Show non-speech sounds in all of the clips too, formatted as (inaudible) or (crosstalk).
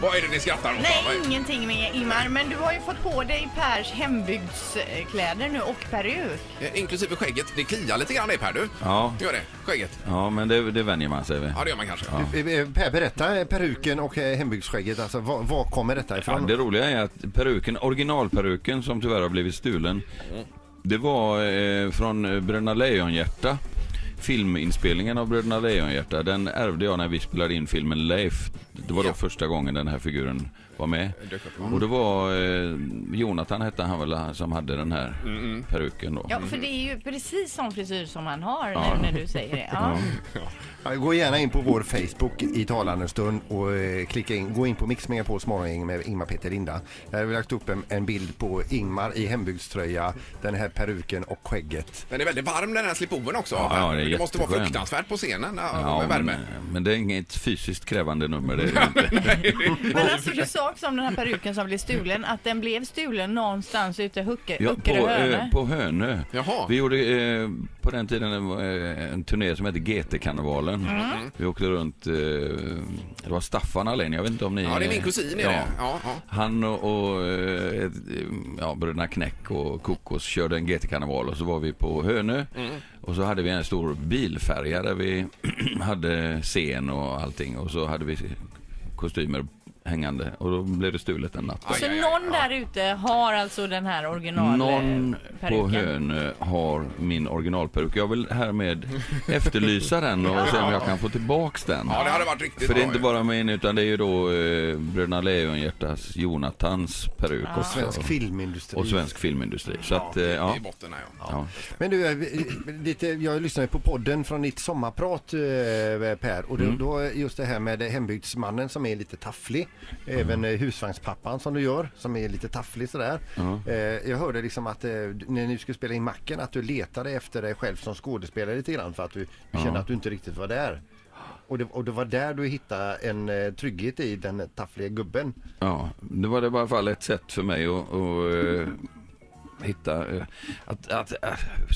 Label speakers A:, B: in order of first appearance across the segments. A: Vad är det ni skrattar åt?
B: Nej,
A: Anna?
B: ingenting med Ingmar. Men du har ju fått på dig Pers hembygdskläder nu och peruk.
A: Eh, Inklusive skägget. Det kliar lite grann det Per du.
C: Ja.
A: Gör det. Skägget.
C: Ja, men det, det vänjer man sig vid.
A: Ja, det gör man kanske.
D: Eh, eh, Per, berätta eh, peruken och eh, hembygdsskägget. Alltså, var, var kommer detta
C: Ja,
D: ifrån?
C: det roliga är att peruken, originalperuken som tyvärr har blivit stulen, det var eh, från eh, Bröderna Lejonhjärta. Filminspelningen av Bröderna Lejonhjärta, den ärvde jag när vi spelade in filmen Leif. Det var då
A: Ja.
C: första gången den här figuren var med.
A: Dök upp.
C: Och det var eh, Jonathan hette han väl, han som hade den här
A: Mm,
C: peruken då.
B: Ja, för det är ju precis sån frisyr som man har
C: Mm. (laughs) Ja.
B: nu när du säger det. Ja.
D: Ja, Gå gärna in på vår Facebook i talande stund och eh, klicka in. Gå in på Mix Megapols morgongäng med Ingmar, Peter, Linda. Där har vi lagt upp en, en bild på Ingmar i hembygdströja, den här peruken och skägget.
A: Den är väldigt varm den här slipoven också.
C: Ja, ja, det är
A: det måste vara
C: jätteskön.
A: fruktansvärt på scenen ja,
C: Ja,
A: med
C: men, eh,
A: värme.
C: men det är inget fysiskt krävande nummer.
A: (laughs)
C: Det är det inte.
B: Men alltså du sa också om den här peruken som blev stulen att den blev stulen någonstans ute i Hucke,
C: Ja, på,
B: Huckerö.
C: eh, på Hönö.
A: Jaha.
C: Vi gjorde eh, på den tiden en, eh, en turné som hette GT-karnevalen.
A: Mm.
C: Vi åkte runt, eh, det var Staffan Alén, jag vet inte om ni... eh,
A: Ja, det är min kusin är
C: ja.
A: det. Ja, ja.
C: Han och, och eh, ett, eh, ja, bröderna Knäck och Kokos körde en GT-karneval och så var vi på Hönö.
A: Mm.
C: Och så hade vi en stor bilfärja där vi (clears throat) hade scen och allting och så hade vi kostymer hängande och då blev det stulet en natt.
A: Aj,
B: Så
A: aj, aj,
B: någon
A: ja.
B: där ute har alltså den här original
C: Någon
B: eh,
C: på
B: peruken.
C: Hönö har min originalperuk. Jag vill härmed efterlysa den och se om jag kan få tillbaks den.
A: Ja, det hade varit riktigt
C: För det
A: bra
C: är inte
A: ju.
C: bara min utan det är ju då eh, Bröderna Lejonhjärtas Jonathans peruk.
D: Och svensk filmindustri.
C: och svensk filmindustri. Så att, eh,
A: Ja,
C: ja.
A: I botten här, ja.
C: ja.
D: Men du, eh, lite, jag lyssnade på podden från ditt sommarprat eh, Per och då, då just det här med hembygdsmannen som är lite tafflig. Även eh, husvagnspappan som du gör som är lite tafflig sådär. Eh, Jag hörde liksom att eh, när ni skulle spela in Macken att du letade efter dig själv som skådespelare lite grann för att du, du kände att du inte riktigt var där. Och det, och det var där du hittade en eh, trygghet i den taffliga gubben.
C: Ja, det var det i alla fall ett sätt för mig att, att eh, hitta... eh, Att, att, eh,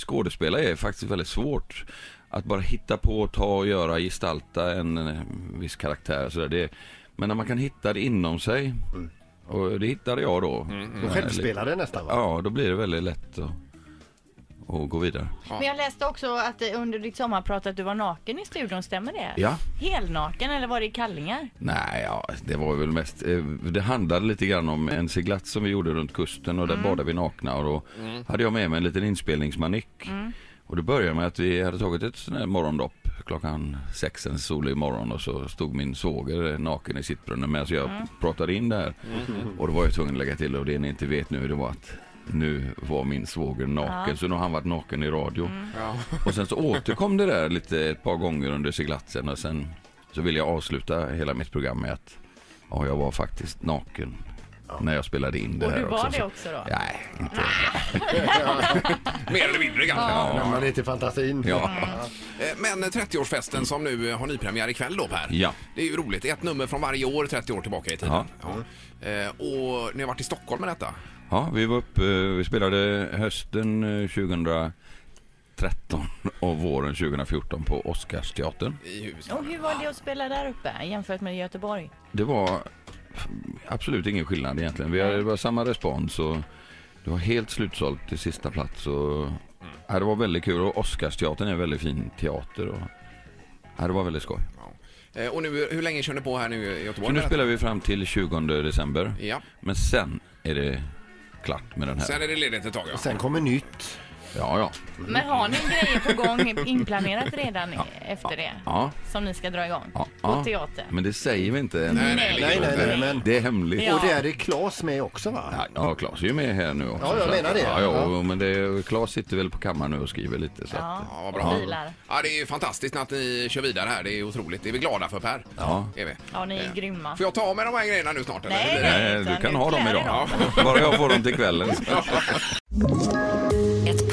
C: skådespela är faktiskt väldigt svårt. Att bara hitta på, ta och göra, gestalta en eh, viss karaktär. Så där, det, men när man kan hitta det inom sig, och det hittade jag då.
D: Du självspelade nästan va?
C: Ja, då blir det väldigt lätt att, att gå vidare.
B: Men jag läste också att eh, under ditt sommarprat att du var naken i studion, stämmer det?
C: Ja.
B: Helnaken eller var det i kallingar?
C: Nej, ja, det var väl mest... eh, Det handlade lite grann om en seglats som vi gjorde runt kusten och där badade vi nakna och då hade jag med mig en liten inspelningsmanick. Och det började med att vi hade tagit ett sånt här morgondopp klockan sex en solig morgon och så stod min svåger eh, naken i sittbrunnen medan jag
B: Mm.
C: pratade in där. Och då var jag tvungen att lägga till och det ni inte vet nu det var att nu var min svåger naken, så nu har han varit naken i radio.
B: Mm.
C: (laughs) Och sen så återkom det där lite ett par gånger under seglatsen och sen så ville jag avsluta hela mitt program med att ja, jag var faktiskt naken när jag spelade in det
B: Och
C: här
B: du var det
C: Så-
B: också då?
C: Nej, inte.
A: Mer eller mindre kanske.
D: När man är till fantasin.
C: Ja.
B: Mm.
A: Eh, Men 30-årsfesten som nu eh, har nypremiär ikväll då Per.
C: Ja.
A: Det är ju roligt. Ett nummer från varje år 30 år tillbaka i tiden.
C: Ja.
A: Ja. Eh, Och ni har varit i Stockholm med detta.
C: ja, vi var uppe, vi spelade hösten eh, 2013 och våren 2014 på Oscarsteatern.
A: I huset.
B: Och hur var det att spela där uppe jämfört med Göteborg?
C: Det var absolut ingen skillnad egentligen. Vi hade, det var samma respons och det var helt slutsålt till sista plats. Och, ja, det var väldigt kul och Oscarsteatern är en väldigt fin teater. Och, ja, det var väldigt skoj.
A: Ja. Eh, Och nu, hur länge kör ni på här nu i Göteborg?
C: Så nu
A: med detta?
C: spelar vi fram till 20 december.
A: Ja.
C: Men sen är det klart med den här.
A: Sen är det ledigt ett tag ja.
D: Sen kommer nytt.
C: Ja, ja.
B: Men har ni grejer på gång inplanerat redan efter det?
C: ja,
B: Som ni ska dra igång?
C: ja,
B: På
C: ja.
B: teatern?
C: Men det säger vi inte. än.
A: Nej, nej,
D: Nej, nej, nej, men...
C: Det är hemligt.
B: Ja.
D: Och det är det Claes med också va?
C: Ja, Ja, Claes är ju med här nu också.
D: Ja, jag
C: så att-
D: menar det.
C: Ja, ja,
D: Ja.
C: men det är, Claes sitter väl på kammaren nu och skriver lite. Så att,
A: Ja,
B: Ja,
A: vad
B: och
A: bra.
B: filar.
A: Ja, det är ju fantastiskt att ni kör vidare här. Det är otroligt. Det är vi glada för Per.
C: Ja.
A: Det Är vi.
B: Ja, ni är
A: Eh,
B: grymma.
A: Får jag ta med de här grejerna nu snart? eller?
B: Nej,
A: Hur blir det?
B: nej.
C: Nej, du
B: utan
C: kan
B: nu
C: ha dem
B: klär
C: idag.
B: jag
C: Bara jag får dem till kvällen.
E: Ett